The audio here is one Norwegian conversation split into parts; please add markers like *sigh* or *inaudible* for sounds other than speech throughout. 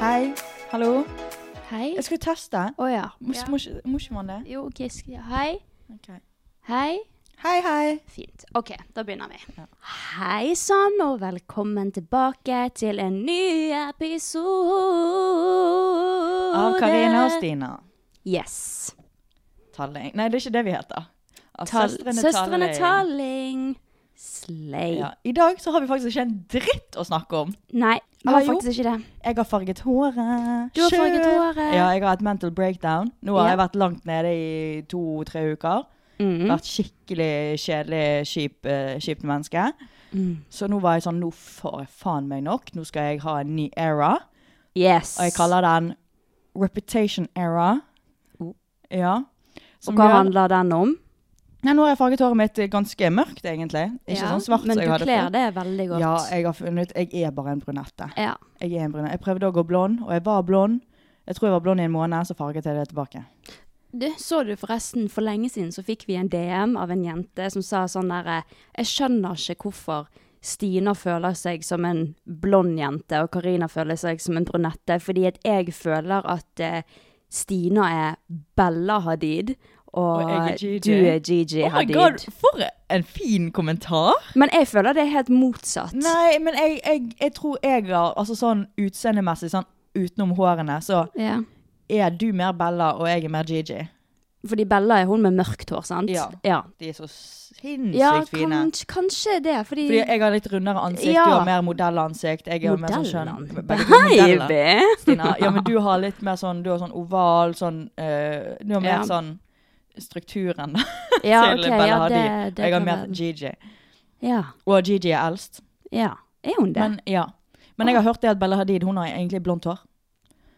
Hei. Hallo. Hei. Jeg skulle teste. Å ja. Må, Ja. må, ikke, må ikke man det? Jo, OK. sk- Hei. Ok. Hei. Hei, hei. Fint. OK, da begynner vi. Hei sann, og velkommen tilbake til en ny episode Av Karina og Stina. Yes. Talling. Nei, det er ikke det vi heter. Av Tal Søstrene Talling. Talling. Slay. Ja. I dag så har vi faktisk ikke en dritt å snakke om. Nei, vi Ah, har jo. faktisk ikke det. Jeg har farget håret. Du har Sjøl. farget håret. Ja, jeg har hatt mental breakdown. Nå har Ja. jeg vært langt nede i to-tre uker. Mm. Vært skikkelig kjedelig, kjip, eh, kjipt menneske. Mm. Så nå var jeg sånn, nå får jeg faen meg nok. Nå skal jeg ha en ny era. Yes. Og jeg kaller den Reputation Era. Oh. Ja. Og hva handler den om? Nei, nå har jeg farget håret mitt ganske mørkt, egentlig. Ikke sånn svart Men som jeg du hadde kler før. det veldig godt. Ja, jeg har funnet ut Jeg er bare en brunette. Ja. Jeg er en brunette. Jeg prøvde å gå blond, og jeg var blond. Jeg tror jeg var blond i en måned, så farget jeg det tilbake. Du, så du forresten, for lenge siden så fikk vi en DM av en jente som sa sånn der Jeg skjønner ikke hvorfor Stina føler seg som en blond jente, og Karina føler seg som en brunette, fordi at jeg føler at eh, Stina er Bella Hadid, og, Og jeg er Gigi. du er Gigi Oh my Hadid. god, for en fin kommentar! Men jeg føler det er helt motsatt. Nei, men jeg, jeg, jeg tror jeg har Altså sånn utseendemessig, sånn utenom hårene, så Ja. er du mer Bella, og jeg er mer Gigi. Fordi Bella er hun med mørkt hår, sant? Ja. Ja, De er så sinnssykt ja fine. kanskje, kanskje det, fordi, Fordi jeg har litt rundere ansikt, Ja. du har mer modellansikt. Jeg har mer sånn skjønn. Modellene. Begge to modeller, Baby! Stina. Ja, men du har litt mer sånn, du har sånn oval, sånn eh, Du har mer Ja. sånn strukturen Ja, til ok, Bella ja, Hadid. det- det Og jeg har kan mer være. Gigi. Ja. Og Gigi er eldst. Ja. Er hun det? Men ja. Men jeg har hørt det at Bella Hadid hun har egentlig blondt hår.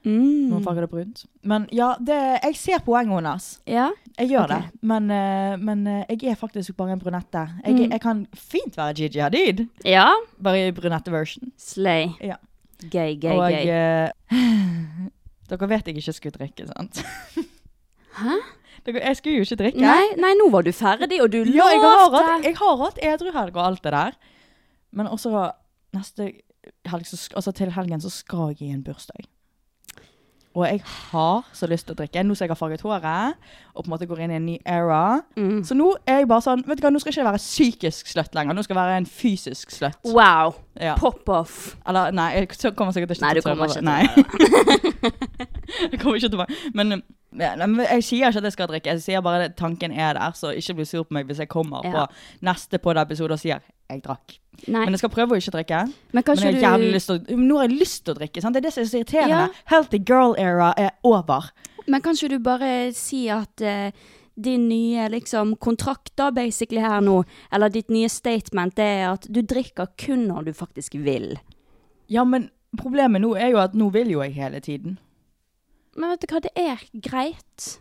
Hun mm. farger det brunt. Men ja, det, jeg ser poenget hennes. Ja. Jeg gjør Ok. det. Men, eh, men eh, jeg er faktisk bare en brunette. Jeg, Mm. jeg kan fint være Gigi Hadid, ja. bare i brunette-version. Slay. Ja. Gøy, gøy, og gøy. eh, *sighs* Dere vet jeg ikke skulle drikke, sant? *laughs* Hæ? Dere, jeg skulle jo ikke drikke. Nei, nei, nå var du ferdig, og du ja, jeg har hatt, lovte! jeg har hatt edruhelg og alt det der. Men også neste helg, så, sk- altså til helgen, så skal jeg i en bursdag. Og jeg har så lyst til å drikke. Nå som jeg har farget håret, og på en måte går inn i en ny era. Mm. Så nå er jeg bare sånn Vet du hva, nå skal jeg ikke være psykisk sløtt lenger. Nå skal jeg være en fysisk sløtt. Wow. Ja. Pop off. Eller nei, *laughs* jeg kommer sikkert ikke Nei, du til å kommer tørre ikke det. til å Nei. Jeg kommer ikke tilbake. Men ja, nei, men jeg sier ikke at jeg skal drikke, jeg sier bare at tanken er der, så ikke bli sur på meg hvis jeg kommer Ja. på neste podde-episode og sier 'jeg drakk'. Nei, Men jeg skal prøve å ikke drikke. men Men kanskje jeg du har jævlig lyst til å, nå har jeg lyst til å drikke. sant? Det er det som er så irriterende. Ja. Healthy girl-era er over. Men kan ikke du bare si at eh, din nye liksom, kontrakt da, basically her nå, eller ditt nye statement, det er at du drikker kun når du faktisk vil. Ja, men problemet nå er jo at nå vil jo jeg hele tiden. Men vet du hva, det er greit.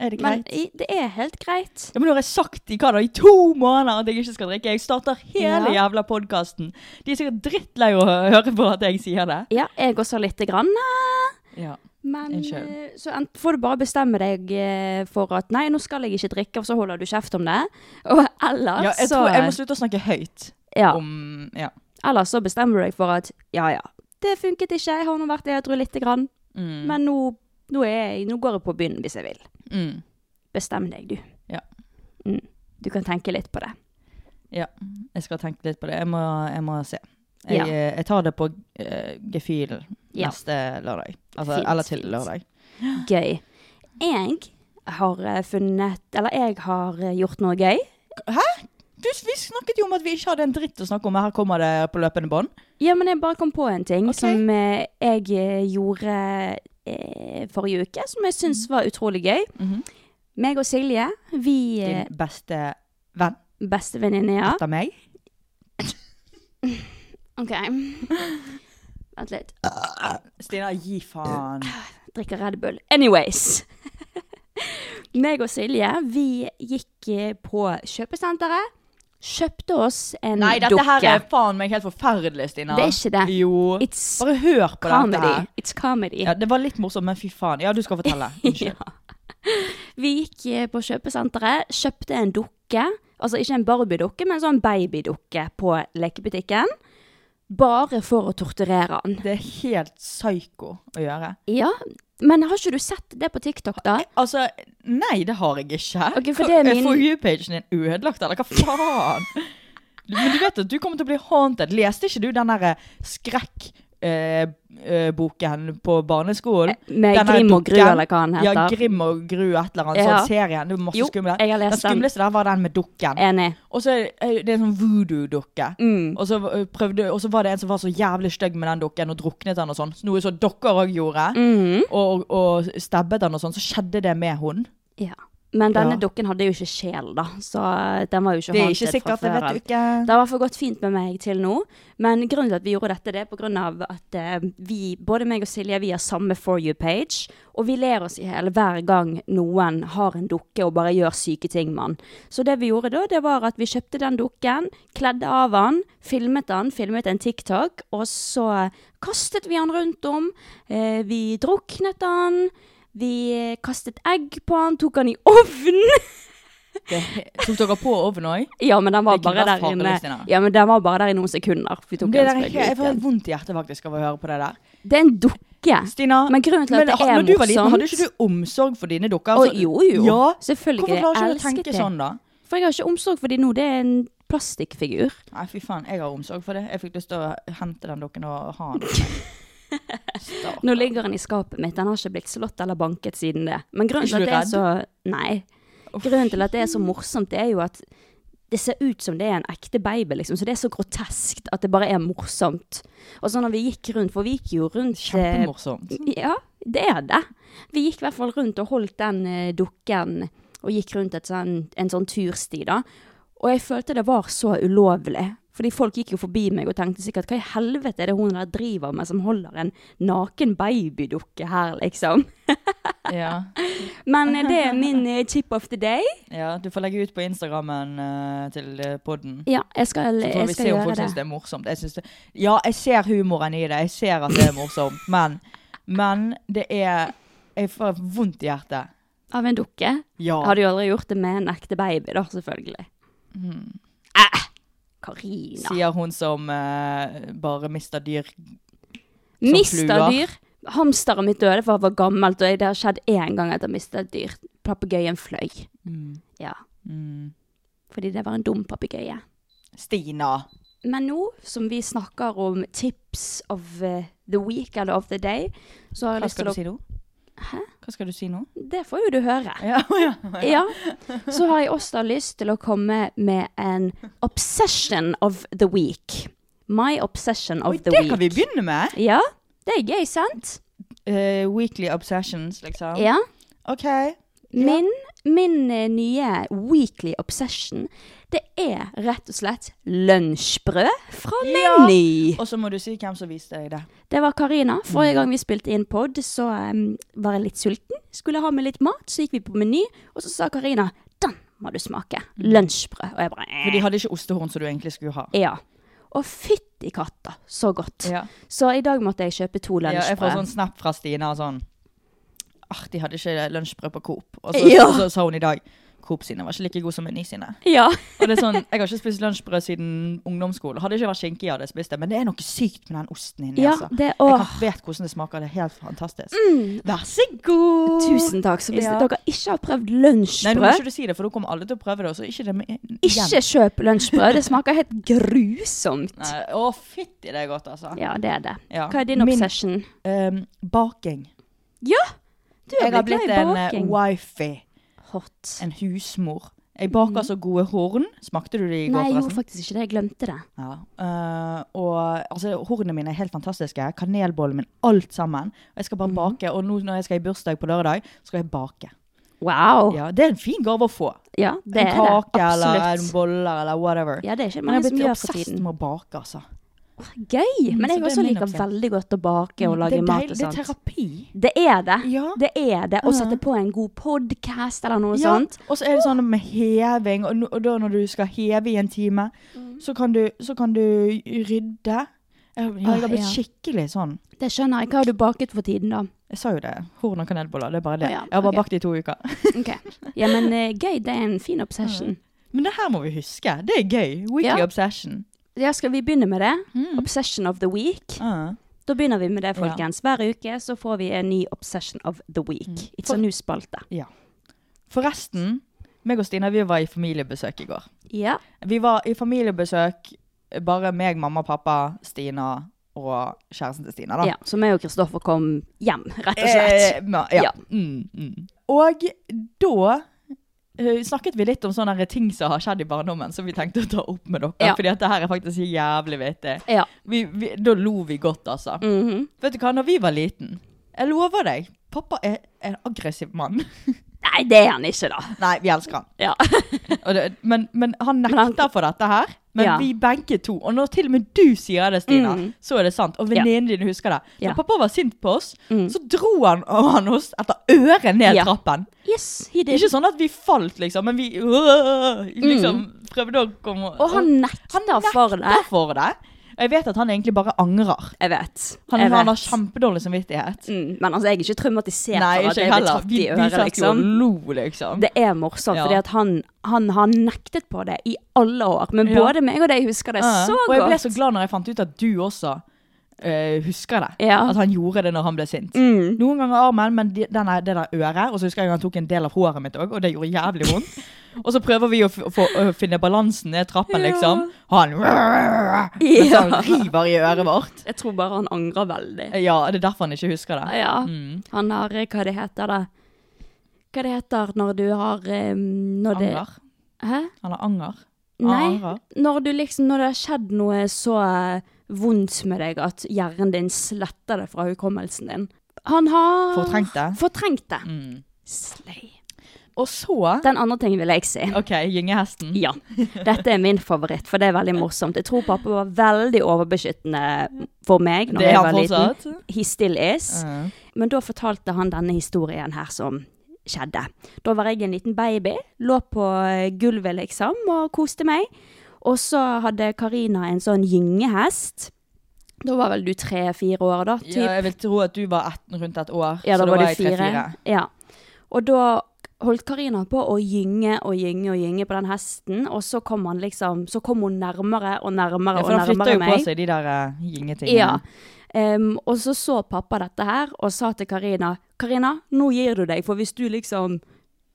Er det Men greit? i- det er helt greit. ja, men nå har jeg sagt i hva da, i to måneder at jeg ikke skal drikke. Jeg starter hele Ja. jævla podkasten. De er sikkert drittlei å hø- høre på at jeg sier det. Ja, jeg også lite grann. eh, Ja. Men Unnskyld. eh, så ent- får du bare bestemme deg eh, for at nei, nå skal jeg ikke drikke, og så holder du kjeft om det. *laughs* Og ellers Ja, jeg så tror jeg må slutte å snakke høyt Altså, eh, ja. om Ja. Eller så bestemmer du deg for at ja, ja, det funket ikke, jeg har nå vært edru lite grann, Mm. men nå, nå, er jeg, nå går jeg på byen hvis jeg vil. Mm. Bestem deg, du. Ja. Mm. Du kan tenke litt på det. ja. Jeg skal tenke litt på det. Jeg må, jeg må se. Jeg, Ja. eh, jeg tar det på uh, gefühl Ja. neste lørdag. Altså, Fint, eller til fint. lørdag. Gøy. Jeg har eh, funnet, eller jeg har eh, gjort noe gøy. Du, vi snakket jo om at vi ikke hadde en dritt å snakke om. Her kommer det på løpende bånd. Ja, men jeg bare kom på en ting Ok. som eh, jeg eh, gjorde eh, forrige uke, som jeg syns var utrolig gøy. Mhm. Meg og Silje, vi eh, Din beste venn bestevenninne, *laughs* ja. etter meg. Ok. *laughs* Vent litt. Stina, gi faen. drikker Red Bull. Anyways. *laughs* Meg og Silje, vi gikk eh, på kjøpesenteret, kjøpte oss en Nei, dette dukke. her er faen meg helt forferdelig, Stina. Det er ikke det. Jo. It's Bare hør på dette comedy. her. It's comedy. Ja, det var litt morsomt, men fy faen. Ja, du skal *laughs* fortelle. Unnskyld. Vi gikk eh, på kjøpesenteret, kjøpte en dukke. Altså ikke en Barbie-dukke, men en sånn babydukke på lekebutikken. Bare for å torturere han. Det er helt psyko å gjøre. Ja, men har ikke du sett det på TikTok, da? Altså, nei, det har jeg ikke. Ok, for det er Hva- min- For you-pagen din ødelagt, eller hva faen? Du- Men du vet at du kommer til å bli haunted. Leste ikke du den der eh, skrekk... eh, eh, boken på barneskolen. Eh, Med Den her Grim og Gru, dukken. eller hva han heter. Ja, Grim og Gru, et eller annet. Ja. Sånn serien. Det var masse Jo, skumle. jeg har den lest den. skumleste der var den med dukken. Enig. Og så er det det er en sånn voodoo-dukke. Mm. Og så eh, prøvde, og så var det en som var så jævlig stygg med den dukken, og druknet han og sånn. Noe som dere òg gjorde. Mhm. Og, og stabbet han og sånn. Så skjedde det med hun. Ja. Men denne Ja. dukken hadde jo ikke sjel, da, så den var jo ikke Det er haunted ikke fra sikkert, det før vet av. du ikke. Det har i hvert fall gått fint med meg til nå, men grunnen til at vi gjorde dette, det er på grunn av at eh, vi, både meg og Silje, vi har samme For you-page, og vi ler oss i hjel hver gang noen har en dukke og bare gjør syke ting med den. Så det vi gjorde da, det var at vi kjøpte den dukken, kledde av den, filmet den, filmet en TikTok, og så kastet vi den rundt om, eh, vi druknet den, vi eh, kastet egg på den, tok den i ovnen. Det- Tok dere på ovnen òg? Ja, men den var Det kunne bare vært der farlig, inne Stina. Ja, men den var bare der i noen sekunder. Vi tok Det der en er helt- sprøyte Jeg ut får helt igjen. vondt i hjertet faktisk av å høre på det der. Det er en dukke. Stina, Men grunnen til at det ha- er når du var liten, morsomt- hadde ikke du omsorg for dine dukker? Å, Altså, jo, jo. Ja, Selvfølgelig. Hvorfor klarer ikke Jeg du å tenke elsket det. sånn, da? For jeg har ikke omsorg for dem nå. Det er en plastikkfigur. Nei, fy faen, jeg har omsorg for det. Jeg fikk lyst til å hente den dukken og ha *laughs* den. Stakkar. Nå ligger den i skapet mitt. Den har ikke blitt slått eller banket siden det. Men grunnen Er ikke til at det er du så Nei. Grunnen til at det er så morsomt, det er jo at det ser ut som det er en ekte baby, liksom. Så det er så groteskt at det bare er morsomt. Og så når vi gikk rundt, for vi gikk jo rundt eh, *laughs* Kjempemorsomt. Ja, det er det. Vi gikk i hvert fall rundt og holdt den eh, dukken, og gikk rundt et sånn, en sånn tursti da. Og jeg følte det var så ulovlig. Fordi folk gikk jo forbi meg og tenkte sikkert, hva i helvete er det hun der driver med som holder en naken babydukke her, liksom. Ja. Men eh, det er min eh, tip of the day. ja, du får legge ut på Instagrammen eh, til eh, podden. Ja, jeg skal, Så får jeg vi skal se om gjøre folk syns det. det er morsomt. Jeg synes det, ja, jeg ser humoren i det. Jeg ser at det er morsomt. Men, men det er Jeg får vondt i hjertet. Av en dukke. Ja. Jeg hadde jo aldri gjort det med en ekte baby da, selvfølgelig. Eh, Karina. Mm. Sier hun som eh, bare mister dyr. som Mista fluer. dyr. Hamsteren mitt døde for han var gammelt, og jeg- det har skjedd én gang at jeg mistet et dyr. Papegøyen fløy. Ja, Mm. fordi det var en dum papegøye. Stina. Men nå som vi snakker om tips of eh, the week eller of the day, så har jeg Hva lyst til skal du å si nå? Hva skal du si nå? *laughs* Det får jo du høre. Ja, ja. Ja. Så har jeg også lyst til å komme med en obsession of the week. My obsession of Oi, the det week. kan vi begynne med! Ja, det er gøy, sant? Eh, weekly obsessions, liksom. Ja. OK. Min, min eh, nye weekly obsession, det er rett og slett lunsjbrød fra Ja. Meny. Og så må du si hvem som viste deg det. Det var Karina. Forrige gang vi spilte inn pod, så em, var jeg litt sulten. Skulle ha med litt mat, så gikk vi på Meny, og så sa Karina 'Den må du smake'. Lunsjbrød. Og jeg bare For de hadde ikke ostehorn som du egentlig skulle ha. Ja. Og fytti katta, så godt. Ja. Så i dag måtte jeg kjøpe to Ja, jeg får lunsjbrød. sånn snap fra Stina og sånn Ah, de hadde ikke lunsjbrød på Coop. Og så, Ja. og så sa hun i dag Coop sine var ikke like gode som Meny sine. Ja, Og det er sånn, Jeg har ikke spist lunsjbrød siden ungdomsskolen. Hadde det ikke vært skinke, jeg hadde jeg spist det. Men det er noe sykt med den osten inni. Ja, altså. det- jeg Mm. åh. kan, vet hvordan det smaker. Det er helt fantastisk. Mm. Vær så god! tusen takk. Så hvis Ja. dere ikke har prøvd Nei, nå må lunsjbrød, ikke du si det, for da kommer alle til å prøve det. Og så ikke det med igjen. ikke kjøp lunsjbrød. Det *laughs* smaker helt grusomt. Nei, Å, fytti, det er godt, altså. Ja, det er det. Ja. Hva er din Min- obsession? Ehm, baking. Ja! Du Jeg er har blitt blitt glad i en eh, baking. wifey. Hot. En husmor. Jeg baker så gode horn. Smakte du de i går, Mhm. Nei, jeg gjorde forresten? faktisk ikke det. Jeg glemte det. Ja. Eh, og altså, hornene mine er helt fantastiske. Kanelbollen min, alt sammen. Og jeg skal Mhm. bare bake. Og nå når jeg skal i bursdag på lørdag, skal jeg bake. Wow. Ja, Ja, det er en fin gave å få. det en er det. kake eller en Absolutt. boller eller whatever. Ja, det er ikke Men jeg mange har som blitt gjør for obsesst tiden. med å bake, altså. Gøy. Men så jeg det er også min liker obsession. Mm, veldig godt å bake og lage det er mat deilig, og Det er sånt. terapi. Det er det. Ja. Det er det. Å sette på en god podkast eller noe Ja, sånt. og så er det sånn med heving, og, no- og da når du skal heve i en time, Mhm. så, kan du, så kan du rydde. Jeg, jeg har blitt ja. skikkelig sånn. Det skjønner jeg. Hva har du baket for tiden, da? Jeg sa jo det. Horn og kanelboller, det er bare det. Å ja, Jeg har bare ok. bakt det i to uker. *laughs* Ok. Ja, men eh, gøy. Det er en fin obsession. Men det her må vi huske. Det er gøy. Weekly Ja. obsession. Ja, skal vi begynne med det? Mm. Obsession of the week. Ah. Da begynner vi med det, folkens. Hver uke så får vi en ny Obsession of the Mm. Week. It's a new spalte. Ja. Forresten, meg og Stina vi var i familiebesøk i går. Ja. Vi var i familiebesøk, bare meg, mamma, pappa, Stina og kjæresten til Stina. da. ja. Så meg og Kristoffer kom hjem, rett og slett. Eh, ma- ja. Ja. Mm, mm. Og da eh, snakket vi litt om sånne her ting som har skjedd i barndommen, som vi tenkte å ta opp med dere. Ja. Fordi at det her er faktisk jævlig vittig. Ja. Vi, vi, da lo vi godt, altså. Mhm. Vet du hva, når vi var liten Jeg lover deg, pappa er en aggressiv *laughs* mann. Nei, det er han ikke, da. Nei, vi elsker han. *laughs* Ja. Og det, men, men han nekter han- for dette her. Men Ja. vi begge to. Og når til og med du sier det, Stina, Mm. så er det sant. Og venninnen din husker det. Når Ja. Mm. pappa var sint på oss, så dro han, han oss etter øret ned Ja. trappen. Yes, he Det did. er ikke sånn at vi falt, liksom, men vi øh, liksom prøvde å komme Mm. Og han nekter Han nekter for det. for det. Og jeg vet at han egentlig bare angrer. Jeg vet. Han, jeg vet. han har kjempedårlig samvittighet. Mm, Men altså, jeg er ikke traumatisert Nei, for ikke at jeg jeg ble heller. tatt Vi, i vi øret, satt jo og liksom. lo, liksom. Det er morsomt, Ja. fordi at han, han har nektet på det i alle år. Men Ja. både meg og deg husker det Ja. så og jeg ble godt. så glad når jeg fant ut at du også eh, husker det. Ja. Mm. At han gjorde det når han ble sint. Noen ganger armen, men de, den er- det der øret. Og så husker jeg han tok en del av håret mitt òg, og det gjorde jævlig *laughs* vondt. og så prøver vi å, f få, å finne balansen ned trappen, liksom. Han mens han river i øret vårt. Jeg tror bare han angrer veldig. Ja, det er derfor han ikke husker det. Ja. Mm. Han har eh, Hva det heter det? Hva det heter når du har eh, når det, Anger. Hæ? Han har anger. Han Nei. angrer. Når, du liksom, når det har skjedd noe så eh, vondt med deg at hjernen din sletter det fra hukommelsen din. Han har Fortrengt det. Mm. Fortrengt det. Slay. Og så Den andre tingen vil jeg si. OK, gyngehesten. Ja. Dette er min favoritt, for det er veldig morsomt. Jeg tror pappa var veldig overbeskyttende for meg når Det er jeg han var liten. fortsatt. He still is. Men da fortalte han denne historien her som skjedde. Da var jeg en liten baby, lå på eh, gulvet liksom og koste meg. Og så hadde Karina en sånn gyngehest. Da var vel du tre-fire år da, typ. Ja, jeg vil tro at du var ett rundt et år, Ja, så da var det jeg tre-fire. fire. Ja. Og da holdt Karina på å gynge og gynge og gynge på den hesten, og så kom, han liksom, så kom hun nærmere og nærmere Ja, og for han flytter nærmere jo på meg. seg de der uh, gyngetingene. Ja. Em, og så så pappa dette her og sa til Karina Karina, nå gir du deg, for hvis du liksom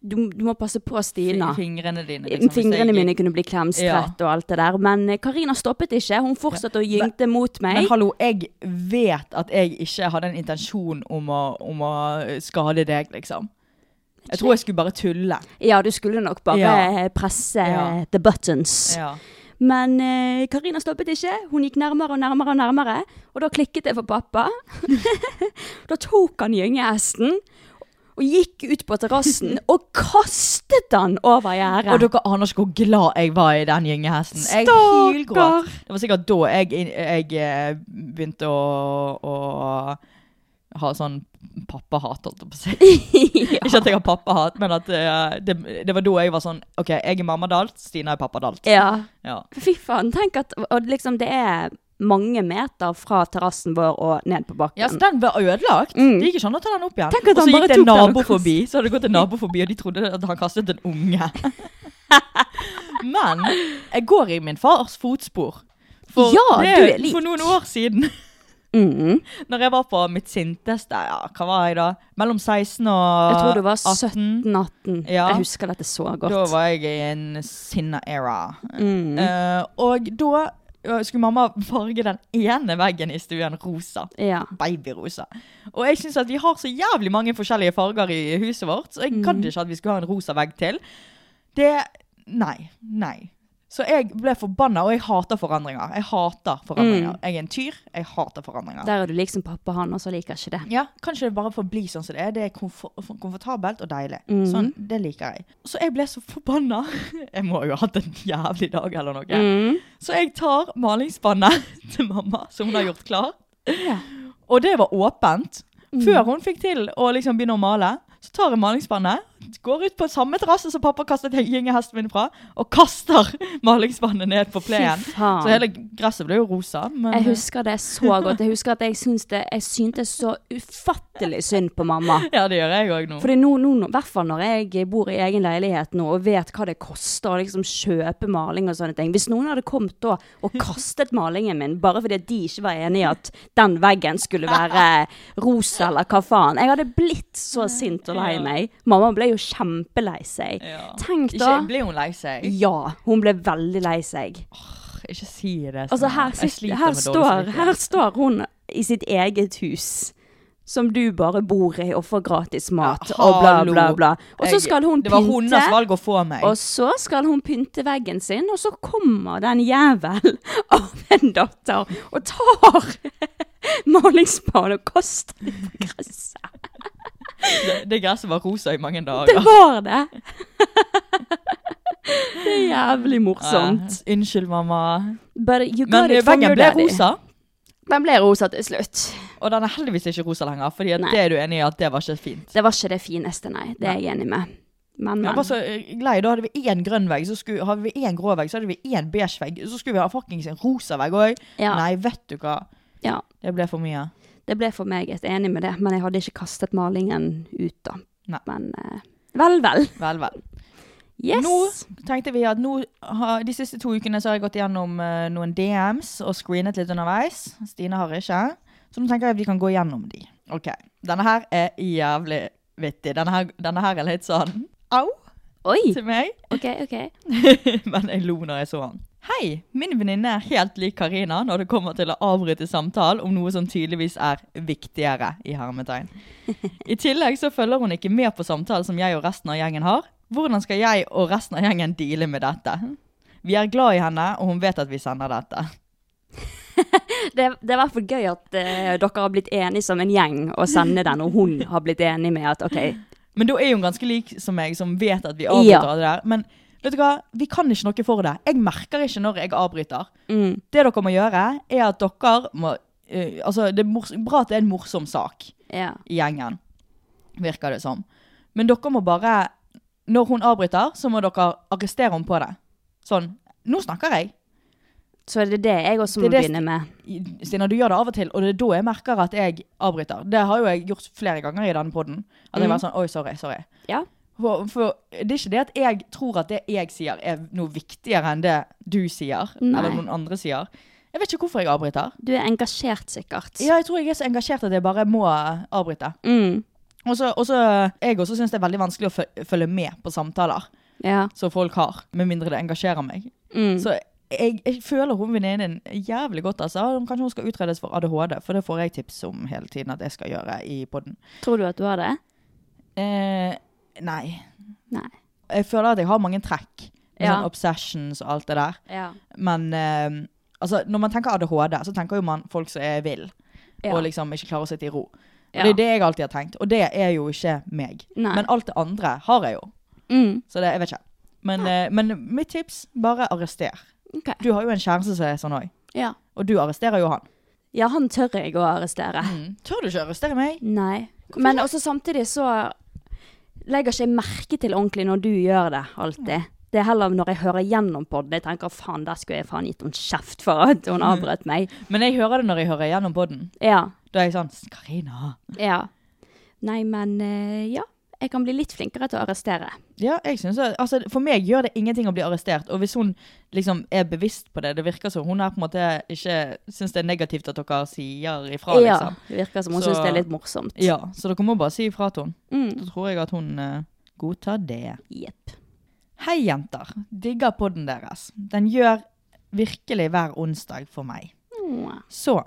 du, du må passe på Stina. Fingrene dine. liksom, hvis Fingrene jeg- mine kunne bli klemstrett og alt det der. Men eh, Karina stoppet ikke. Hun fortsatte å gyngte mot meg. Men hallo, jeg vet at jeg ikke hadde en intensjon om å, om å skade deg, liksom. Jeg tror jeg skulle bare tulle. Ja, du skulle nok bare Ja. eh, presse Ja. the buttons. Ja. Men eh, Karina stoppet ikke. Hun gikk nærmere og nærmere og nærmere. Og da klikket det for pappa. *laughs* da tok han gyngehesten og gikk ut på *laughs* terrassen og kastet den over Og gjerdet. dere aner ikke hvor glad jeg var i den gyngehesten. Jeg Stakkar! hylgråt. Det var sikkert da jeg, jeg eh, begynte å, å ha sånn pappahat, holdt jeg på å si. *laughs* ja. Ikke at jeg har pappahat, men at eh, det, det var da jeg var sånn OK, jeg er mamma dalt, Stina er pappa dalt. ja. Ja. Fy faen. Tenk at Og liksom, det er mange meter fra terrassen vår og ned på bakken. Ja, så den var ødelagt. Mm. Det gikk ikke an å ta den opp igjen. Tenk at Og så han bare gikk det tok en den og nabo kastet- forbi, så hadde det gått en nabo forbi, og de trodde at han kastet en *laughs* unge. Men jeg går i min fars fotspor. For, Ja, det, du er lik. for noen år siden, Mhm. *laughs* når jeg var på mitt sinteste ja, Hva var jeg da? Mellom 16 og Jeg tror du var 18. 17-18. Ja. Jeg husker dette så godt. Da var jeg i en sinna era. Mm. Eh, og da eh, skulle mamma farge den ene veggen i stuen rosa. ja. Babyrosa. Og jeg syns at vi har så jævlig mange forskjellige farger i huset vårt, så jeg gadd ikke at vi skulle ha en rosa vegg til. Det Nei. Nei. Så jeg ble forbanna, og jeg hater forandringer. Jeg hater forandringer. Jeg er en tyr. Jeg hater forandringer. Der er du liksom pappa, han også liker ikke det. Ja, Kanskje det bare får bli sånn som det er. Det er komfor komfortabelt og deilig. Sånn, Det liker jeg. Så jeg ble så forbanna. *laughs* Jeg må jo ha hatt en jævlig dag eller noe. Mm. Så jeg tar malingsspannet *laughs* til mamma, som hun har gjort klar. Og det var åpent. Mm. Før hun fikk til å liksom begynne å male, så tar jeg malingsspannet, går ut på samme terrasse som pappa kastet gyngehesten min fra, og kaster *laughs* malingsspannet ned på plenen. Fy faen. Så hele gresset ble jo rosa. Men, Jeg husker det så godt. Jeg husker at jeg, syns det, jeg syntes så ufattelig synd på mamma. Ja, det gjør jeg òg nå. Fordi nå, nå, nå, i hvert fall når jeg bor i egen leilighet nå og vet hva det koster å liksom kjøpe maling og sånne ting. Hvis noen hadde kommet da og kastet malingen min bare fordi at de ikke var enig i at den veggen skulle være rosa eller hva faen. Jeg hadde blitt så sint og lei meg. Mamma ble jo kjempelei seg. Ja. Tenk Ikke da. blir hun lei seg. Ja, hun ble veldig lei seg. Ikke si det. Altså, Stina. her, Jeg sitter, sliter her, med dårlig står, samvittighet. her står hun i sitt eget hus. Som du bare bor i og får gratis mat Ja, og bla, hallo. bla, bla. Og så Jeg- skal hun Det var hennes pynte. valg å få meg. Og så skal hun pynte veggen sin, og så kommer den jævel *laughs* av en datter og tar *laughs* malingsspaden og kaster den på gresset. *laughs* Det- Det gresset var rosa i mange dager. Det var det! *laughs* Det er jævlig morsomt. Eh, unnskyld, mamma. But you got Men it from veggen your ble daddy. rosa. Den ble rosa til slutt. Og den er heldigvis ikke rosa lenger, Fordi at Nei. det er du enig i at det var ikke fint. Det var ikke det fineste, nei. Det er jeg enig med. Men, Jeg men. var så eh, lei, Da hadde vi én grønn vegg, så skulle, hadde vi én grå vegg, så hadde vi én beige vegg, så skulle vi ha fuckings en rosa vegg òg. Ja. Nei, vet du hva. Ja, Det ble for mye. det ble for meg et enig med det, men jeg hadde ikke kastet malingen ut da. Nei. Men eh, vel, vel. Vel, vel. Yes! Nå tenkte vi at nå har, de siste to ukene så har jeg gått gjennom eh, noen DMs og screenet litt underveis. Stine har ikke. Så nå tenker jeg at vi kan gå gjennom de. Ok, Denne her er jævlig vittig. Denne her, denne her er litt *laughs* sånn au Oi! til meg. Ok, ok. *laughs* Men jeg lo når jeg så han. Hei, min venninne er helt lik Karina når det kommer til å avbryte samtalen om noe som tydeligvis er viktigere, i hermetegn. I tillegg så følger hun ikke med på samtalen som jeg og resten av gjengen har. Hvordan skal jeg og resten av gjengen deale med dette? Vi er glad i henne, og hun vet at vi sender dette. Det, det er i hvert fall gøy at eh, dere har blitt enige som en gjeng og sender den, og hun har blitt enig med at ok, Men da er hun ganske lik som meg, som vet at vi avbryter Ja. det der. Men vet du hva, vi kan ikke noe for det. Jeg merker ikke når jeg avbryter. mm, Det dere må gjøre, er at dere må eh, Altså, det er mors bra at det er en morsom sak ja. i gjengen, virker det som. Men dere må bare Når hun avbryter, så må dere arrestere henne på det. Sånn Nå snakker jeg. Så er det det jeg også må Det er det- begynne med. I- Stina, du gjør det av og til, og det er da jeg merker at jeg avbryter. Det har jo jeg gjort flere ganger i denne poden. At jeg Mhm. var sånn Oi, sorry, sorry. Ja. For, for det er ikke det at jeg tror at det jeg sier er noe viktigere enn det du sier, Nei. eller noen andre sier. Jeg vet ikke hvorfor jeg avbryter. Du er engasjert sikkert. Ja, jeg tror jeg er så engasjert at jeg bare må avbryte. Mm. Og så, og så, jeg også syns det er veldig vanskelig å fø- følge med på samtaler Ja. som folk har, med mindre det engasjerer meg. Mm. Så jeg, jeg føler hun venninnen din jævlig godt. altså. Kanskje hun skal utredes for ADHD, for det får jeg tips om hele tiden at jeg skal gjøre i podden. Tror du at du har det? Eh, nei. Nei. Jeg føler at jeg har mange trekk. med Ja. Sånn obsessions og alt det der. Ja. Men eh, altså, når man tenker ADHD, så tenker jo man folk som er vill. Ja. Og liksom ikke klarer å sitte i ro. Og Ja. Det er det jeg alltid har tenkt, og det er jo ikke meg. Nei. Men alt det andre har jeg jo. Mm. Så det, jeg vet ikke. Men, eh, men mitt tips, bare arrester. Ok. Du har jo en kjæreste som er sånn òg. Ja. Og du arresterer jo han. ja, han tør jeg å arrestere. Tør du ikke arrestere meg? Nei. Men også samtidig så legger ikke jeg merke til ordentlig når du gjør det, alltid. Det er heller når jeg hører gjennom podden, jeg tenker faen, der skulle jeg faen gitt henne kjeft for at Mm. hun avbrøt meg. Men jeg hører det når jeg hører gjennom podden. Ja. Da er jeg sånn Karina. Ja. Nei, men eh, ja. Jeg kan bli litt flinkere til å arrestere. Ja, jeg synes at, altså, For meg gjør det ingenting å bli arrestert. Og hvis hun liksom er bevisst på det Det virker som hun er på en måte ikke syns det er negativt at dere sier ifra, ja. liksom. Det virker som hun Så- syns det er litt morsomt. Ja, Så dere må bare si ifra til henne. Mm. Da tror jeg at hun eh, godtar det. Jepp. Hei, jenter. Digger podden deres. Den gjør virkelig hver onsdag for meg. Åh. Så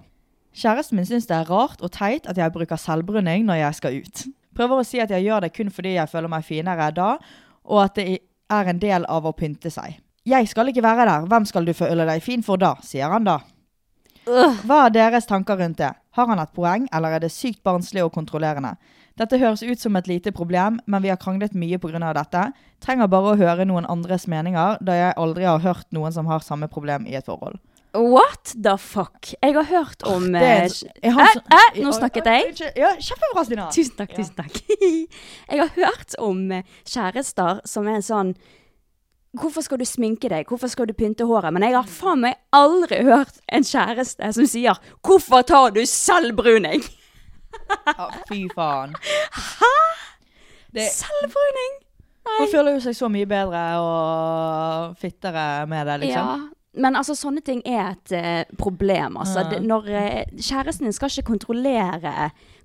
Kjæresten min syns det er rart og teit at jeg bruker selvbrunning når jeg skal ut. Prøver å si at jeg gjør det kun fordi jeg føler meg finere da, og at det er en del av å pynte seg. Jeg skal ikke være der, hvem skal du føle deg fin for da, sier han da. Hva er deres tanker rundt det? Har han et poeng, eller er det sykt barnslig og kontrollerende? Dette høres ut som et lite problem, men vi har kranglet mye pga. dette. Trenger bare å høre noen andres meninger, da jeg aldri har hørt noen som har samme problem i et forhold. What the fuck? Jeg har hørt om Det er, eh, jeg har så- eh, eh, nå snakket jeg. Oi, oi, unnskyld. Ja, kjempebra, Stina. *laughs* Tusen takk, tusen takk. Jeg har hørt om eh, kjærester som er sånn Hvorfor skal du sminke deg? Hvorfor skal du pynte håret? Men jeg har faen meg aldri hørt en kjæreste som sier 'Hvorfor tar du selvbruning?' Ja, fy faen. Det, Selvbruning! hun føler jo seg så mye bedre og fittere med det, liksom. Ja. Men altså, sånne ting er et eh, problem, altså. Det, når eh, kjæresten din skal ikke kontrollere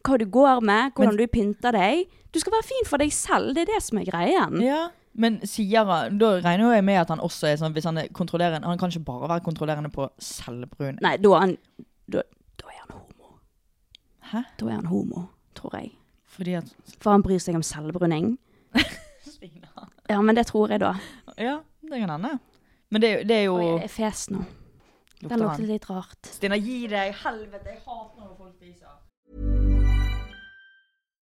hva du går med, hvordan du pynter deg. Du skal være fin for deg selv, det er det som er greien. Ja. Men sier han, da regner jo jeg med at han også er sånn, hvis han er kontrollerende, han kan ikke bare være kontrollerende på selvbrun. Nei, da er han da, da er han homo. Hæ? Da er han homo, tror jeg. Fordi at, *laughs* For han bryr seg om selvbruning. Ja, men det tror jeg, da. ja, det kan hende. Men det, er jo- det er jo, Oi, jeg fes nå. Den lukter lukter han. litt rart. Stina, gi deg, helvete, jeg hater når folk viser.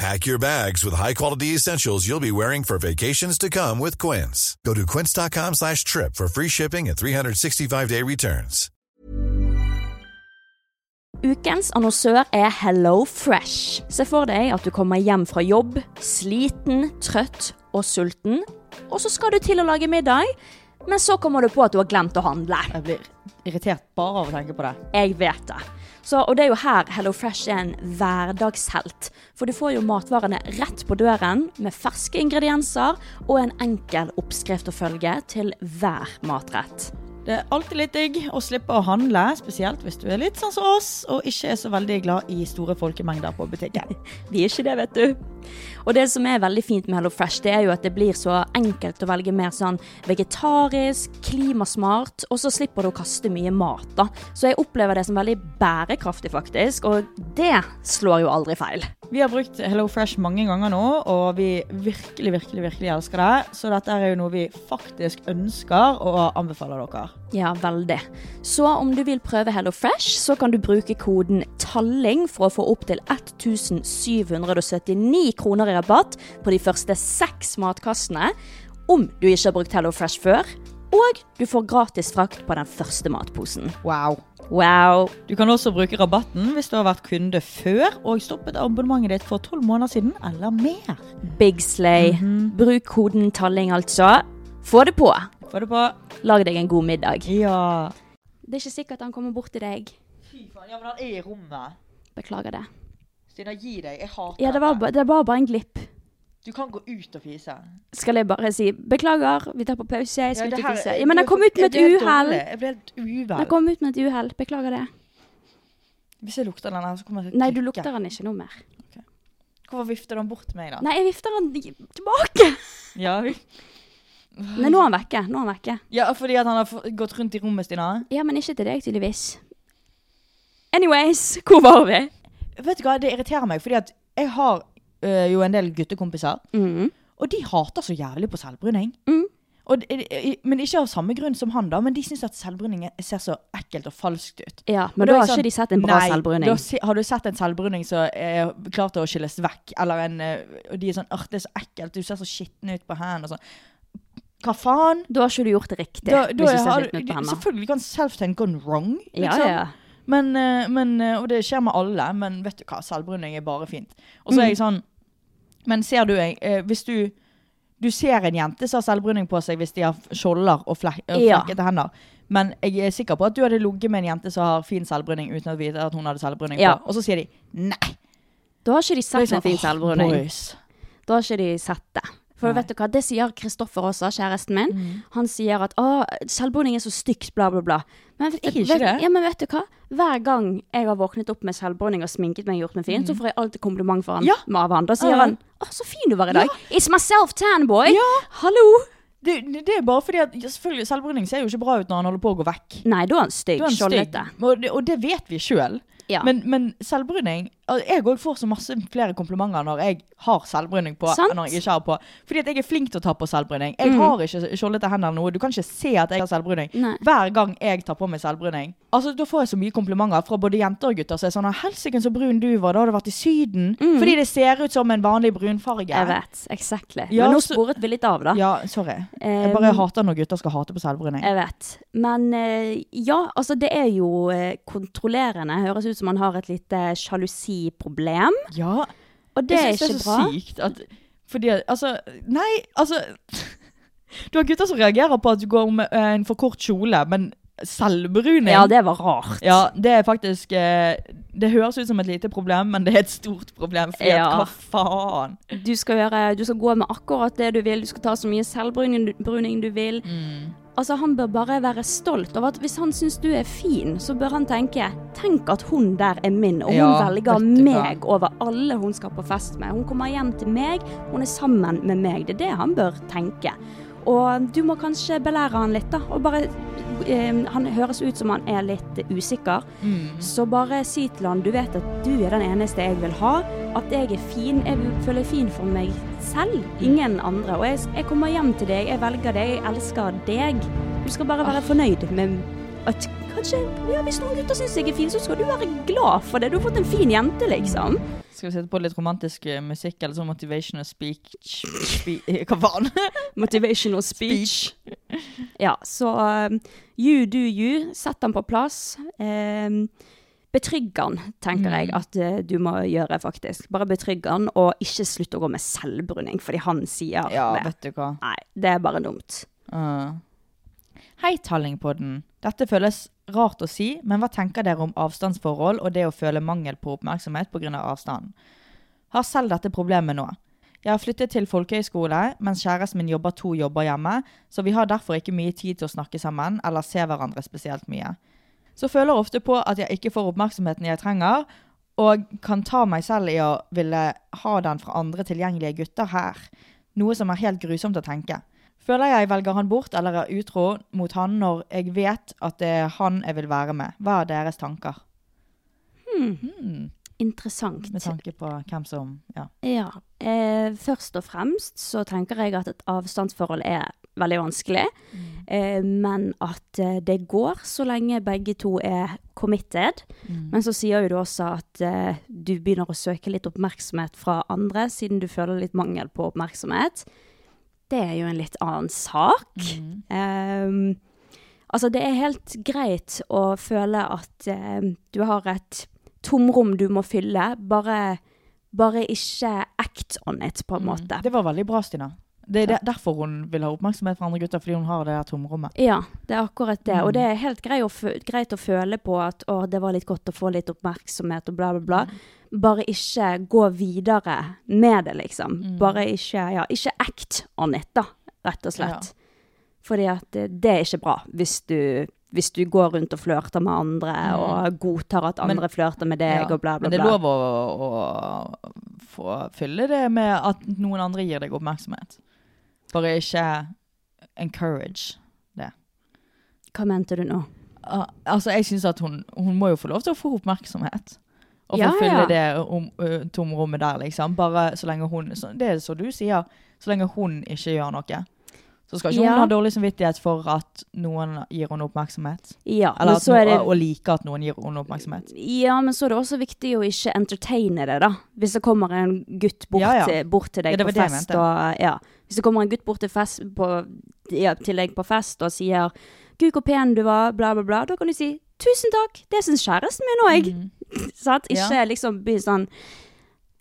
Pack your bags with high-quality essentials you'll be wearing for vacations to come with Quince. Go to quince.com slash trip for free shipping and 365-day returns. Ukens annonsør er Hello Fresh. Se for deg at du kommer hjem fra jobb, sliten, trøtt og sulten. Og så skal du til å lage middag, men så kommer du på at du har glemt å handle. Jeg blir irritert bare av å tenke på det. Jeg vet det. Så, og det er jo her Hello Fresh er en hverdagshelt. For du får jo matvarene rett på døren med ferske ingredienser og en enkel oppskrift å følge til hver matrett. Det er alltid litt digg å slippe å handle, spesielt hvis du er litt sånn som oss, og ikke er så veldig glad i store folkemengder på butikken. Vi er ikke det, vet du. Og det som er veldig fint med Hello Fresh, det er jo at det blir så enkelt å velge mer sånn vegetarisk, klimasmart, og så slipper du å kaste mye mat, da. Så jeg opplever det som veldig bærekraftig, faktisk, og det slår jo aldri feil. Vi har brukt Hello Fresh mange ganger nå, og vi virkelig, virkelig, virkelig elsker det. Så dette er jo noe vi faktisk ønsker og anbefaler dere. Ja, veldig. Så om du vil prøve Hello Fresh, så kan du bruke koden TALLING for å få opptil 1779 kroner i rabatt på de første seks matkassene, om du ikke har brukt Hello Fresh før, og du får gratis frakt på den første matposen. Wow. Wow! Du kan også bruke rabatten hvis du har vært kunde før og stoppet abonnementet ditt for tolv måneder siden eller mer. Big slay. Bruk koden TALLING, altså. Få det på! Få det på. Lag deg en god middag. Ja. Det er ikke sikkert han kommer bort til deg. Fy faen, ja, men han er i rommet. Beklager det. Stina, gi deg. Jeg hater Ja, det var, ba- det var bare en glipp. Du kan gå ut og fise. skal jeg bare si beklager, vi tar på pause. Jeg skal ut og fise. Ja, men den kom ut med et uhell! Jeg ble helt Den uvel. kom ut med et uhell. Beklager det. Hvis jeg lukter den her, så kommer jeg til å Nei, du trykke. lukter den ikke noe mer. Hvorfor vifter den bort til meg, da? Nei, jeg vifter den i- tilbake! Ja, vi... Nei, nå er han vekke. Nå er han vekke. ja, fordi at han har f- gått rundt i rommet, Stina. Ja, men ikke til deg, tydeligvis. Anyways, hvor var vi? Vet du hva, det irriterer meg, fordi at jeg har øh, jo en del guttekompiser, Mm. og de hater så jævlig på selvbruning. Mm. Og, de- de- men ikke av samme grunn som han, da, men de syns at selvbruning ser så ekkelt og falskt ut. Ja, Og men da er jeg har ikke sånn, de sett en bra nei, selvbruning. da se- har du sett en selvbruning som er klar til å skilles vekk, eller en øh, Og de er sånn «Åh, det er så ekkelt, du ser så skitten ut på hendene og sånn. Hva faen? Da har ikke du gjort det riktig. Da- da hvis du har- ser litt ut på henne. selvfølgelig kan self-tank gone wrong. Ja, liksom. ja. Men, eh, men, eh, og det skjer med alle, men vet du hva, selvbruning er bare fint. Og så er jeg Mm. sånn Men ser du en- eh, Hvis du Du ser en jente som har selvbruning på seg hvis de har skjolder og flek, og Ja. flekkete hender. Men jeg er sikker på at du hadde ligget med en jente som har fin selvbruning uten å vite at hun hadde selvbruning Ja. på. Og så sier de nei. Da har ikke de Det sett er en fin Liksom, «Åh, selvbruning. boys». Da har ikke de sett det. For Nei. Mm. vet du hva, Det sier Kristoffer også, kjæresten min. Han sier at å, selvboning er så stygt, bla, bla, bla. Men vet, Er ikke vet, det? Ja, men vet du hva? Hver gang jeg har våknet opp med selvboning og sminket meg og gjort meg fin, så får jeg alltid kompliment for han, Mm. Ja. av han. Da sier Ja. han å, så fin du var i dag. It's myself, tan boy. Ja. Hallo. Det, det er bare fordi at ja, selvfølgelig, selvbruning ser jo ikke bra ut når han holder på å gå vekk. Nei, da er han stygg. Da er han stygg. Skjoldete. Og det, og det vet vi sjøl. Ja. Men, men selvbruning al- Jeg òg får så masse flere komplimenter når jeg har selvbruning på. Sant. Mhm. enn Når jeg ikke har på Fordi at jeg er flink til å ta på selvbruning. Jeg har ikke skjoldete hender eller noe. Du kan ikke se at jeg har selvbruning. Nei. Hver gang jeg tar på meg selvbruning, Altså da får jeg så mye komplimenter fra både jenter og gutter. Så er det sånn 'Helsike, så brun du var. Da har du vært i Syden.' Fordi det ser ut som en vanlig brunfarge. Mhm. Jeg vet. Exactly. Ja, men nå så- sporet vi litt av, da. Ja, sorry. Jeg bare Um, hater når gutter skal hate på selvbruning. Jeg vet. Men eh, ja, altså det er jo eh, kontrollerende. Høres ut som han har et lite sjalusiproblem. Ja, Og det er Jeg synes ikke Det bra. er så sykt at Fordi at- altså Nei, altså *laughs* Du har gutter som reagerer på at du går med eh, en for kort kjole, men selvbruning Ja, det var rart. Ja, det er faktisk eh, Det høres ut som et lite problem, men det er et stort problem. Fordi Ja. at, hva faen? Du skal, gjøre, du skal gå med akkurat det du vil, du skal ta så mye selvbruning du- bruning du vil. Mm. Altså, Han bør bare være stolt over at hvis han syns du er fin, så bør han tenke Tenk at hun der er min, og hun Ja, velger vet du hva. meg over alle hun skal på fest med. Hun kommer hjem til meg, hun er sammen med meg. Det er det han bør tenke. Og du må kanskje belære han litt, da. Og bare eh, Han høres ut som han er litt usikker. Så bare si til han du vet at du er den eneste jeg vil ha, at jeg er fin, jeg føler jeg er fin for meg selv, ingen andre. Og jeg, jeg kommer hjem til deg, jeg velger deg, jeg elsker deg. Du skal bare være fornøyd med at kanskje, ja hvis noen gutter syns jeg er fin, så skal du være glad for det. Du har fått en fin jente, liksom. Skal vi sette på litt romantisk eh, musikk eller sånn motivational speak, spe- eh, Hva faen? Motivational speech. Ja, så um, you do you. Sett han på plass. Um, Betrygg han, tenker Mm. jeg at eh, du må gjøre, faktisk. Bare betrygg han, og ikke slutt å gå med selvbruning fordi han sier Ja, det. *laughs* vet du hva. Nei, det er bare dumt. Ah. Hei, Tallingpodden. Dette føles rart å si, men hva tenker dere om avstandsforhold og det å føle mangel på oppmerksomhet pga. Av avstanden? Har selv dette problemet nå. Jeg har flyttet til folkehøyskole, mens kjæresten min jobber to jobber hjemme, så vi har derfor ikke mye tid til å snakke sammen eller se hverandre spesielt mye. Så føler jeg ofte på at jeg ikke får oppmerksomheten jeg trenger, og kan ta meg selv i å ville ha den fra andre tilgjengelige gutter her. Noe som er helt grusomt å tenke. Føler jeg velger han bort eller er utro mot han når jeg vet at det er han jeg vil være med. Hva er deres tanker? interessant. Hmm. Med tanke på hvem som Ja. Ja. Eh, først og fremst så tenker jeg at et avstandsforhold er veldig vanskelig. Eh, men at eh, det går så lenge begge to er committed. Men så sier jo du også at eh, du begynner å søke litt oppmerksomhet fra andre, siden du føler litt mangel på oppmerksomhet. Det er jo en litt annen sak. Eh, altså, det er helt greit å føle at eh, du har et tomrom du må fylle. Bare bare ikke act on it, på en måte. Det var veldig bra, Stina. Det er der- derfor hun vil ha oppmerksomhet fra andre gutter, fordi hun har det her tomrommet. Ja, det er akkurat det. Og det Mm. er helt grei å fø- greit å føle på at å, det var litt godt å få litt oppmerksomhet og bla, bla, bla. Bare ikke gå videre med det, liksom. Mm. Bare ikke, ja, ikke act on it, da, rett og slett. Fordi at eh, det er ikke bra hvis du, hvis du går rundt og flørter med andre og godtar at Mm. Men- andre flørter med deg og bla, bla, bla. Men det er lov å, å få fylle det med at noen andre gir deg oppmerksomhet. Bare ikke encourage det. Hva mente du nå? Ah, altså, jeg syns at hun, hun må jo få lov til å få oppmerksomhet. Og få Ja, fylle ja. det om, ø, tomrommet der, liksom. Bare så lenge hun så, Det er som du sier, så lenge hun ikke gjør noe. Så skal ikke Ja. hun ha dårlig samvittighet for at noen gir henne oppmerksomhet. Ja, men Eller at så er noen, det og like at noen gir henne oppmerksomhet. Ja, men så er det også viktig å ikke entertaine det, da. Hvis det kommer en gutt bort, Ja, ja. Til, bort til deg Ja, det var på det jeg fest mente. og ja. Hvis det kommer en gutt bort til, fest på, ja, til deg på fest og sier 'Gud, hvor pen du var', bla, bla, bla, da kan du si 'Tusen takk, det syns kjæresten min Mm. òg'. Sant? Ikke liksom bli sånn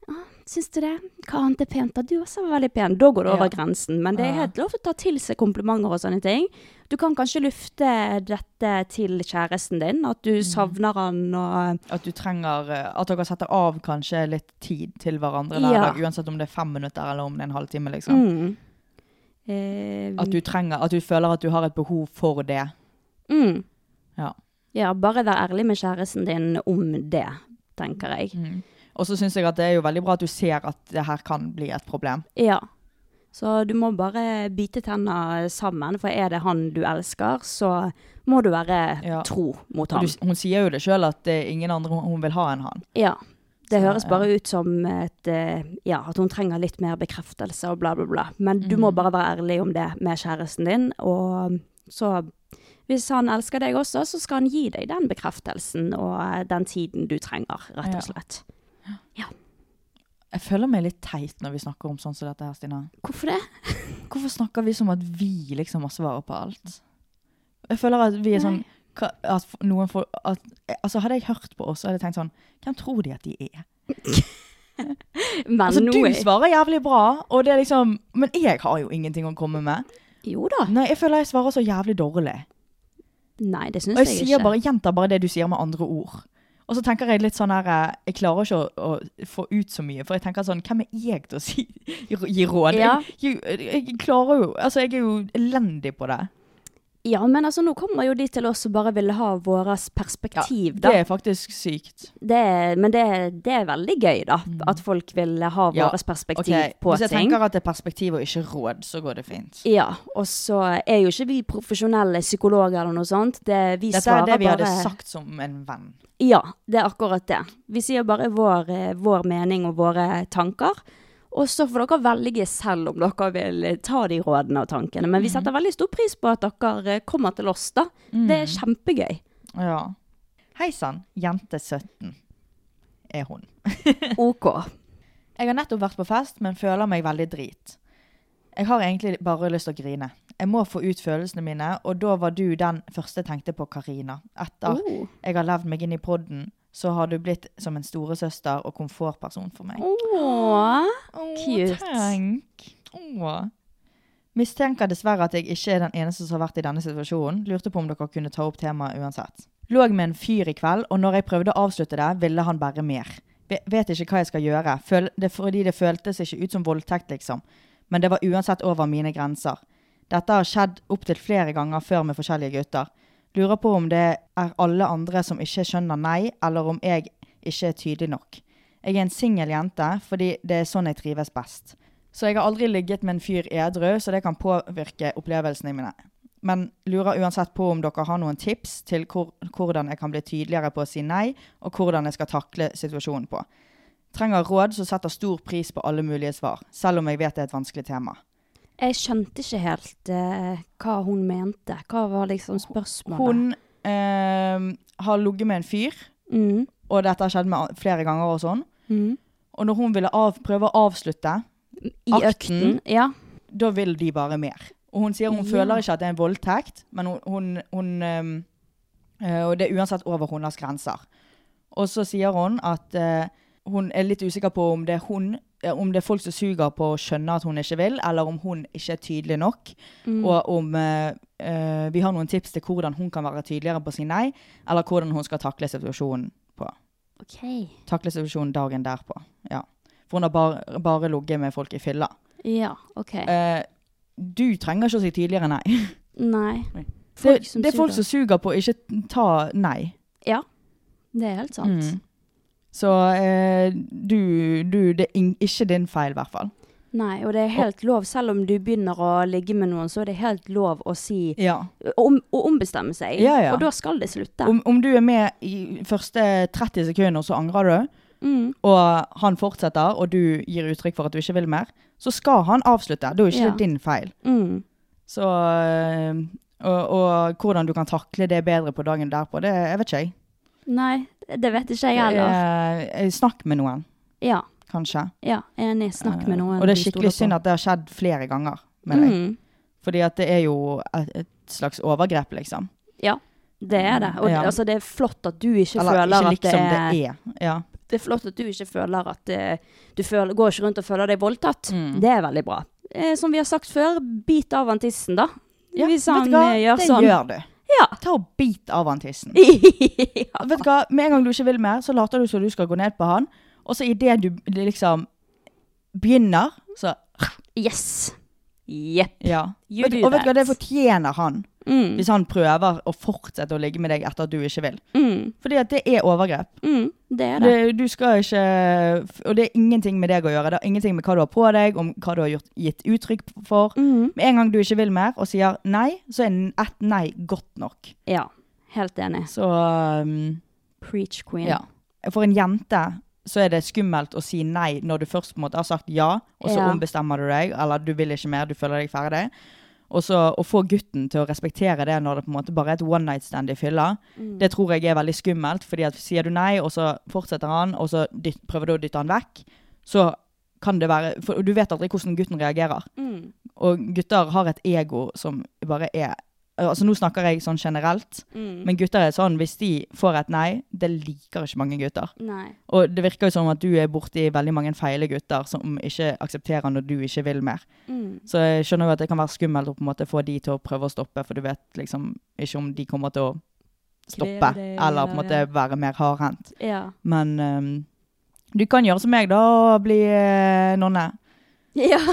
«Å, Syns du det? Hva annet er pent? da? Du også var veldig pen. Da går det over Ja. grensen. Men det er Ja. helt lov å ta til seg komplimenter og sånne ting. Du kan kanskje lufte dette til kjæresten din, at Mm. du savner han og At du trenger eh, At dere setter av kanskje litt tid til hverandre hver Ja. dag, uansett om det er fem minutter eller om det er en halvtime, liksom. Mm. Eh, At du trenger At du føler at du har et behov for det. mm. Ja. ja, bare vær ærlig med kjæresten din om det, tenker jeg. Mm. Og så syns jeg at det er jo veldig bra at du ser at det her kan bli et problem. Ja. Så du må bare bite tenna sammen, for er det han du elsker, så må du være Ja. tro mot Og ham. du, hun sier jo det sjøl at det er ingen andre hun hun vil ha enn han. Ja. Det Så, høres ja. bare ut som et, eh, ja, at hun trenger litt mer bekreftelse og bla, bla, bla. Men du Mhm. må bare være ærlig om det med kjæresten din. Og så hvis han elsker deg også, så skal han gi deg den bekreftelsen og eh, den tiden du trenger, rett Ja. og slett. Jeg føler meg litt teit når vi snakker om sånn som dette her, Stina. Hvorfor det? Hvorfor snakker vi som at vi liksom har svaret på alt? Jeg føler at vi er sånn hva- at f- noen får, at, altså Hadde jeg hørt på oss, så hadde jeg tenkt sånn Hvem tror de at de er? Men Altså, nå du er- svarer jævlig bra, og det er liksom Men jeg har jo ingenting å komme med. Jo da. Nei, jeg føler jeg svarer så jævlig dårlig. Nei, det Og syns jeg jeg sier ikke. bare, gjentar bare det du sier med andre ord. Og så tenker jeg litt sånn her eh, Jeg klarer ikke å, å få ut så mye. For jeg tenker sånn Hvem er jeg til å si, gi råd? Ja. Jeg, jeg, jeg klarer jo Altså, jeg er jo elendig på det. Ja, men altså, nå kommer jo de til oss som bare vil ha våres perspektiv, da. Det er faktisk sykt. Det er, men det, er- det er veldig gøy, da. At folk vil ha våres Mhm. Ja, perspektiv Ok, på Hvis jeg ting. tenker at det er perspektiv og ikke råd, så går det fint. Ja, og så er jo ikke vi profesjonelle psykologer eller noe sånt. Det, vi Dette er svarer det vi bare, hadde sagt som en venn. Ja, det er akkurat det. Vi sier bare vår, eh, vår mening og våre tanker. Og så får dere velge selv om dere vil eh, ta de rådene og tankene. Men Mm. vi setter veldig stor pris på at dere eh, kommer til oss, da. Det er kjempegøy. Ja. Hei sann, jente 17 er hun. OK. Jeg har nettopp vært på fest, men føler meg veldig drit. Jeg har egentlig bare lyst til å grine. Jeg må få ut følelsene mine, og da var du den første jeg tenkte på Karina. Etter Oh. jeg har levd meg inn i podden, så har du blitt som en storesøster og komfortperson for meg. Åh. Åh, cute. Tenk. Åh. Mistenker dessverre at jeg ikke er den eneste som har vært i denne situasjonen. Lurte på om dere kunne ta opp temaet uansett. Lå med en fyr i kveld, og når jeg prøvde å avslutte det, ville han bare mer. Ve- Vet ikke hva jeg skal gjøre, Føl det fordi det føltes ikke ut som voldtekt, liksom. Men det var uansett over mine grenser. Dette har skjedd opptil flere ganger før med forskjellige gutter. Lurer på om det er alle andre som ikke skjønner nei, eller om jeg ikke er tydelig nok. Jeg er en singel jente, fordi det er sånn jeg trives best. Så jeg har aldri ligget med en fyr edru, så det kan påvirke opplevelsene mine. Men lurer uansett på om dere har noen tips til hvor, hvordan jeg kan bli tydeligere på å si nei, og hvordan jeg skal takle situasjonen på. Trenger råd som setter stor pris på alle mulige svar, selv om jeg vet det er et vanskelig tema. Jeg skjønte ikke helt eh, hva hun mente. Hva var liksom spørsmålet? Hun eh, har ligget med en fyr, mm. og dette har skjedd med an- flere ganger og sånn. Mm. Og når hun ville av, prøve å avslutte, I Akten. økten. Ja. da vil de bare mer. Og hun sier hun Ja. føler ikke at det er en voldtekt, men hun, hun, hun ehm, eh, Og det er uansett over hennes grenser. Og så sier hun at eh, hun er litt usikker på om det er hun eh, om det er folk som suger på å skjønne at hun ikke vil, eller om hun ikke er tydelig nok. Mm. Og om eh, eh, vi har noen tips til hvordan hun kan være tydeligere på å si nei, eller hvordan hun skal takle situasjonen på OK. takle situasjonen dagen derpå. Ja. For hun har bare, bare ligget med folk i fylla. Ja, OK. Eh, du trenger ikke å si tidligere nei. Nei. Nei. Folk det, som det er folk suger. som suger på å ikke ta nei. Det er helt sant. Mm. Så eh, du, du Det er ing- ikke din feil, i hvert fall. Nei, og det er helt lov, selv om du begynner å ligge med noen, så er det helt lov å si Ja. om, Å ombestemme seg. Ja, ja. Og da skal det slutte. Om, om du er med i første 30 sekunder, så angrer du, mm. og han fortsetter, og du gir uttrykk for at du ikke vil mer, så skal han avslutte. Da er ikke Ja. det din feil. Mm. Så øh, og, og hvordan du kan takle det bedre på dagen derpå, det jeg vet ikke jeg. Nei, det vet ikke jeg heller. Eh, snakk med noen, Ja, kanskje. Eh, ja, enig. Snakk med noen og det er skikkelig synd at det har skjedd flere ganger med deg. Mm. Fordi at det er jo et, et slags overgrep, liksom. Det er det. Og Ja. altså, det er flott at du ikke Eller føler ikke at det liksom er, det er. Ja. Det er flott at du ikke føler at eh, Du føler, går ikke rundt og føler deg voldtatt. Mm. Det er veldig bra. Eh, som vi har sagt før, bit av han tissen, da. Ja, Hvis vet han du hva? eh, gjør det sånn. gjør du. Ja. Ta og bit av han *laughs* tissen. ja. Vet du hva, Med en gang du ikke vil mer, så later du som du skal gå ned på han, og så idet du liksom begynner, så Yes. Jepp. Ja. You Vet, do og vet du hva, det that. fortjener han. Mm. Hvis han prøver å fortsette å ligge med deg etter at du ikke vil. Mm. Fordi at det er overgrep. Mm. Det er det. Det, du skal ikke Og det er ingenting med deg å gjøre. Det har ingenting med hva du har på deg, om hva du har gjort, gitt uttrykk for. Mm. Med en gang du ikke vil mer og sier nei, så er ett nei godt nok. Ja. Helt enig. Så um, Preach queen. ja. For en jente så er det skummelt å si nei når du først på en måte har sagt ja, og så Ja. ombestemmer du deg, eller du vil ikke mer, du føler deg ferdig. Og så å få gutten til å respektere det når det på en måte bare er et one night stand i fylla, Mm. det tror jeg er veldig skummelt. fordi at sier du nei, og så fortsetter han, og så dytt, prøver du å dytte han vekk, så kan det være For du vet aldri hvordan gutten reagerer. Mm. Og gutter har et ego som bare er Altså Nå snakker jeg sånn generelt, Mm. men gutter er sånn hvis de får et nei Det liker ikke mange gutter. Nei. Og det virker jo som at du er borti veldig mange feile gutter som ikke aksepterer når du ikke vil mer. Mm. Så jeg skjønner jo at det kan være skummelt å på en måte få de til å prøve å stoppe, for du vet liksom ikke om de kommer til å stoppe, Kreve det, eller på en måte eller- være mer hardhendt. *laughs* Ja. Men ehm, du kan gjøre som meg, da, og bli eh, nonne. ja.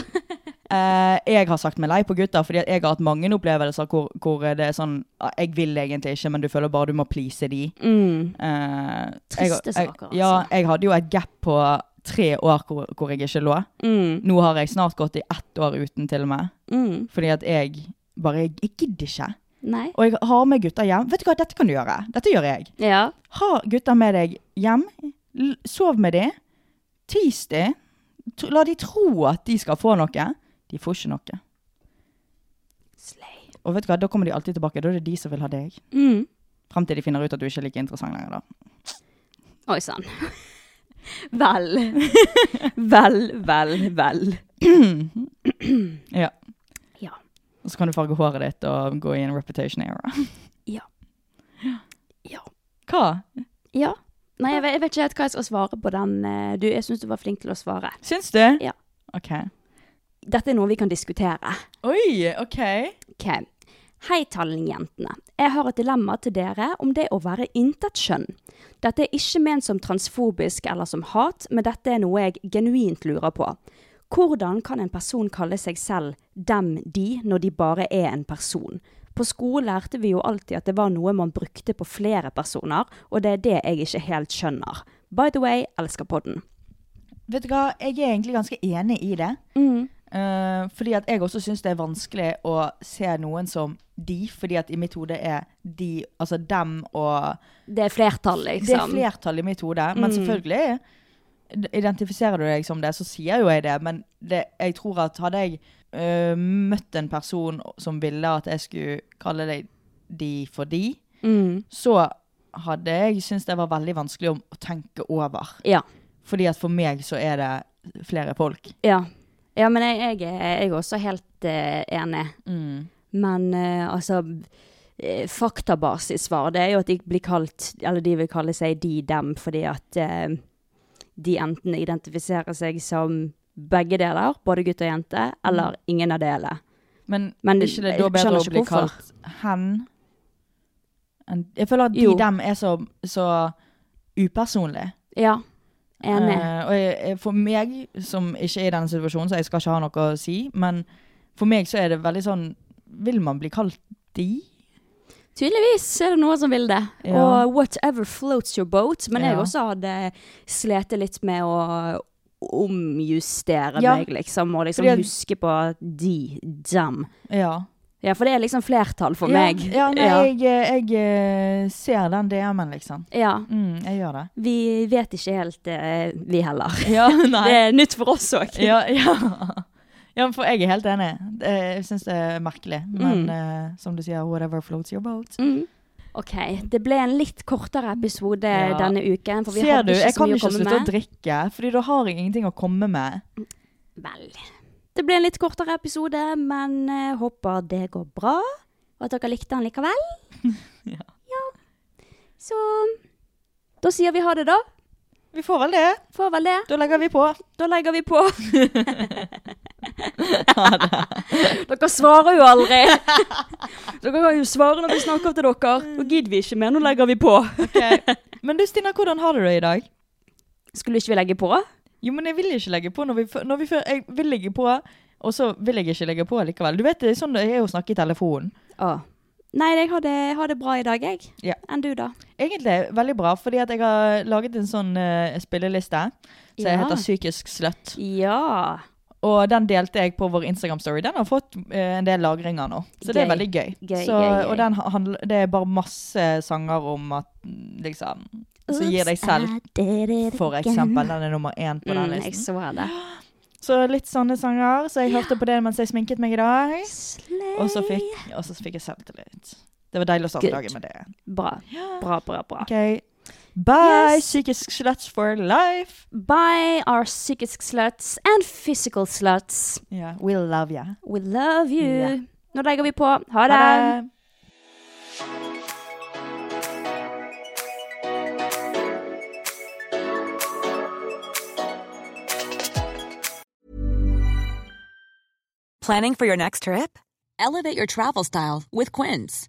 Eh, jeg har sagt meg lei på gutter, fordi at jeg har hatt mange opplevelser hvor, hvor det er sånn ah, Jeg vil egentlig ikke, men du føler bare du må please de. Mm. Eh, Triste jeg, jeg, saker, Ja, altså. jeg hadde jo et gap på tre år hvor, hvor jeg ikke lå. Mm. Nå har jeg snart gått i ett år uten, til og med. Mm. Fordi at jeg bare Jeg, jeg gidder ikke. Nei. Og jeg har med gutter hjem. Vet du hva, dette kan du gjøre. Dette gjør jeg. Ja. Ha gutter med deg hjem. L- Sov med dem. Tis dem. La de tro at de skal få noe. De får ikke noe. Slay. Og vet du hva, da kommer de alltid tilbake. Da er det de som vil ha deg. Mm. Frem til de finner ut at du ikke er like interessant *laughs* lenger, da. Oi sann. *laughs* Vel. Vel, vel, vel. Ja. Ja. Og så kan du farge håret ditt og gå i en reputation era. Ja. Ja. Hva? Ja. Nei, jeg vet, jeg vet ikke helt hva jeg skal svare på den. eh, Du, jeg syns du var flink til å svare. Syns du? Ja. OK. Dette er noe vi kan diskutere. Oi, OK. Ok. Hei, Tallingjentene. Jeg har et dilemma til dere om det å være intet kjønn. Dette er ikke ment som transfobisk eller som hat, men dette er noe jeg genuint lurer på. Hvordan kan en person kalle seg selv dem, de, når de bare er en person? På skolen lærte vi jo alltid at det var noe man brukte på flere personer, og det er det jeg ikke helt skjønner. By the way, elsker podden. Vet du hva, jeg er egentlig ganske enig i det. Eh, Eh, fordi at jeg også syns det er vanskelig å se noen som de, fordi at i mitt hode er de, altså dem og Det er flertall, Det er liksom. flertall i mitt hode, men selvfølgelig d- identifiserer du deg som det, så sier jo jeg det, men det, jeg tror at hadde jeg eh, møtt en person som ville at jeg skulle kalle deg de for de, Mm. så hadde jeg syntes det var veldig vanskelig å, å tenke over. Ja. Fordi at for meg så er det flere folk. Ja, ja men jeg, jeg, er- jeg er også helt eh, enig. Mm. Men eh, altså eh, Faktabasissvaret det er jo at de blir kalt Eller de vil kalle seg de, dem, fordi at eh, de enten identifiserer seg som begge deler, både gutt og jente, eller ingen av delene. Men, Men Mm. er ikke det da jeg bedre skjønner å ikke bli hvorfor. kalt hen? enn- Jeg føler at de Jo. dem er så, så upersonlig. Ja, enig. Eh, og jeg, jeg- for meg, som ikke er i denne situasjonen, så jeg skal ikke ha noe å si, men for meg så er det veldig sånn Vil man bli kalt de? Tydeligvis er det noen som vil det. Ja. Og whatever floats your boat. Men jeg Ja. også hadde slitt litt med å omjustere Ja. meg, liksom. Og liksom Fordi at- huske på de, dem. Ja. Ja, for det er liksom flertall for meg. Ja, ja, nei, ja. Jeg, jeg eh, ser den DM-en, liksom. ja. Mm, jeg gjør det. Vi vet ikke helt, eh, vi heller. Ja, *laughs* nei. Det er nytt for oss òg. Ja, ja. *laughs* ja, for jeg er helt enig. Det- Jeg syns det er merkelig. Men Mm. eh, som du sier, whatever floats your boat. Mm. OK. Det ble en litt kortere episode Ja. denne uken, for vi Ser hadde du, ikke jeg så kan mye å ikke komme slutte å med. drikke, Fordi da har jeg ingenting å komme med. Vel. Det ble en litt kortere episode, men eh, håper det går bra. Og at dere likte den likevel. *laughs* Ja. Så da sier vi ha det, da. Vi får vel det. Får vel det. Da legger vi på. Da legger vi *laughs* på. *laughs* dere svarer jo aldri. *laughs* dere kan jo svare når vi snakker til dere. Nå gidder vi ikke mer, nå legger vi på. *laughs* Men du Stina, hvordan har du det i dag? Skulle ikke vi legge på? Jo, men jeg vil ikke legge på når vi, fø- når vi før Jeg vil legge på, og så vil jeg ikke legge på likevel. Du vet, det er sånn det er å snakke i telefonen. Å. Nei, jeg har det, har det bra i dag, jeg. Ja. Enn du, da? Egentlig veldig bra, fordi at jeg har laget en sånn eh, spilleliste som Ja. heter Psykisk sløtt. Ja. Og den delte jeg på vår Instagram-story. Den har fått eh, en del lagringer nå, så det er Gøy. veldig gøy. Gøy, så, gøy, gøy. Og den ha- handler, det er bare masse sanger om at mm, liksom Så gir deg selv, for eksempel. Den er nummer én på den Mm, jeg listen. så det. Så litt sånne sanger. Så jeg hørte på det mens jeg sminket meg i dag. Og så fikk, og så fikk jeg selvtillit. Det var deilig å starte Good. dagen med det. Bra. Bra, bra, bra. Ok. Bye, Yes. psykisk sluts for life. By our psychic sluts and physical sluts, Yeah, we love you. we love you. Ja. Nå legger vi på. Ha det! Planning for your next trip? Elevate your travel style with Quince.